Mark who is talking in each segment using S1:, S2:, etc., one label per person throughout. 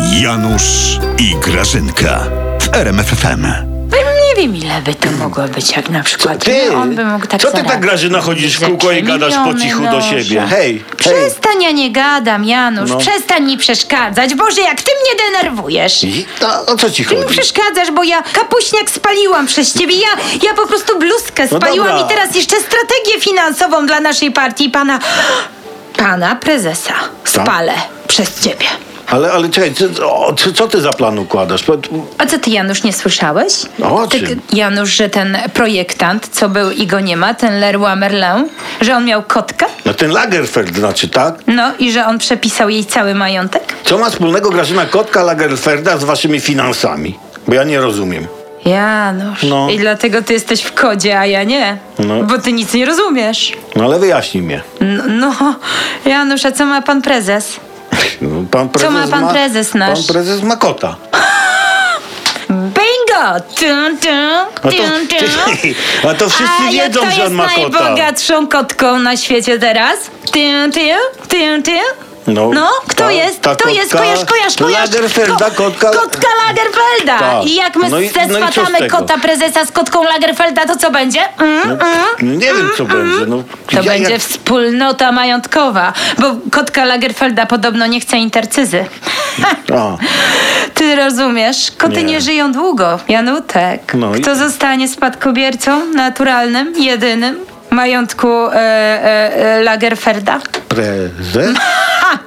S1: Janusz i Grażynka w RMFFM.
S2: Nie wiem, ile by to mogło być, jak na przykład
S3: ty?
S2: on by mógł tak
S4: Co ty tak
S2: zarabiać.
S4: Grażyna chodzisz w kółko i gadasz po cichu do
S2: Miliony,
S4: siebie?
S2: Boże.
S3: Hej, No. hej.
S2: Przestań, ja nie gadam, Janusz. Przestań mi przeszkadzać. Boże, jak ty mnie denerwujesz.
S3: I- To, o co ci
S2: Ty mi
S3: chodzi?
S2: przeszkadzasz, bo ja kapuśniak spaliłam przez ciebie. Ja, ja po prostu bluzkę
S3: No
S2: spaliłam
S3: dobra.
S2: i teraz jeszcze strategię finansową dla naszej partii pana... Pana prezesa
S3: Tak?
S2: spalę przez ciebie.
S3: Ale, ale czekaj, co, o, co, co ty za plan układasz? Po-
S2: A co ty, Janusz, nie słyszałeś?
S3: No, o
S2: Ty,
S3: czym?
S2: Janusz, że ten projektant, co był i go nie ma, ten Leroy Merlin, że on miał kotkę?
S3: No ten Lagerfeld znaczy, tak?
S2: No i że on przepisał jej cały majątek?
S3: Co ma wspólnego Grażyna Kotka Lagerfelda z waszymi finansami? Bo ja nie rozumiem.
S2: Janusz.
S3: No.
S2: I dlatego ty jesteś w kodzie, a ja nie.
S3: No.
S2: Bo ty nic nie rozumiesz.
S3: No ale wyjaśnij mnie.
S2: No, no, Janusz, a co ma pan prezes?
S3: No, Pan prezes
S2: ma pan prezes nasz?
S3: Pan prezes ma kota.
S2: Bingo! Tum, tum,
S3: A to-
S2: tum, tum.
S3: a to wszyscy
S2: a
S3: wiedzą,
S2: kto
S3: że on ma
S2: jest
S3: kota.
S2: najbogatszą kotką na świecie teraz? Tym, tym, tym, tym.
S3: No,
S2: kto
S3: ta-
S2: jest?
S3: ta
S2: kto jest?
S3: kotka
S2: Kojarz, kojarz, kojarz.
S3: Lagerfelda, kotka-
S2: Kotka Lagerfelda.
S3: Tak.
S2: I jak my
S3: No i- no i co z
S2: zespatamy
S3: tego?
S2: kota prezesa z kotką Lagerfelda, to co będzie? Mm, mm.
S3: No, nie wiem, co będzie. No,
S2: To
S3: ja-
S2: będzie
S3: jak-
S2: wspólnota majątkowa, bo kotka Lagerfelda podobno nie chce intercyzy.
S3: A.
S2: Ty rozumiesz? Koty nie,
S3: Nie.
S2: żyją długo. Janutek,
S3: No i-
S2: kto zostanie spadkobiercą naturalnym, jedynym majątku e, e, e, Lagerfelda?
S3: Prezes?
S2: Ha!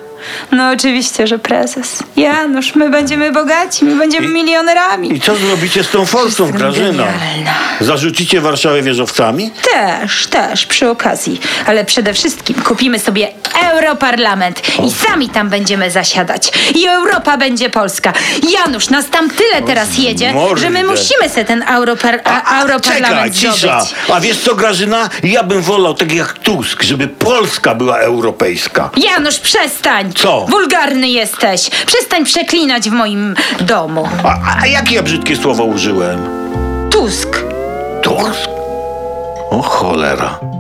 S2: No oczywiście, że prezes. Janusz, my będziemy bogaci, my będziemy milionerami.
S3: I co zrobicie z tą forsą, Grażyna?
S2: genialna.
S3: Zarzucicie Warszawę wieżowcami?
S2: Też, też, przy okazji. Ale przede wszystkim kupimy sobie Europarlament i sami tam będziemy zasiadać. I Europa będzie Polska. Janusz, nas tam tyle teraz jedzie,
S3: mordę.
S2: że my musimy se ten Europar- a,
S3: Czekaj,
S2: Europarlament
S3: cisza.
S2: zdobyć.
S3: A wiesz co, Grażyna? Ja bym wolał, tak jak Tusk, żeby Polska była europejska.
S2: Janusz, przestań!
S3: Co?
S2: Wulgarny jesteś! Przestań przeklinać w moim domu.
S3: A, a jakie ja brzydkie słowo użyłem?
S2: Tusk!
S3: Tusk? O cholera.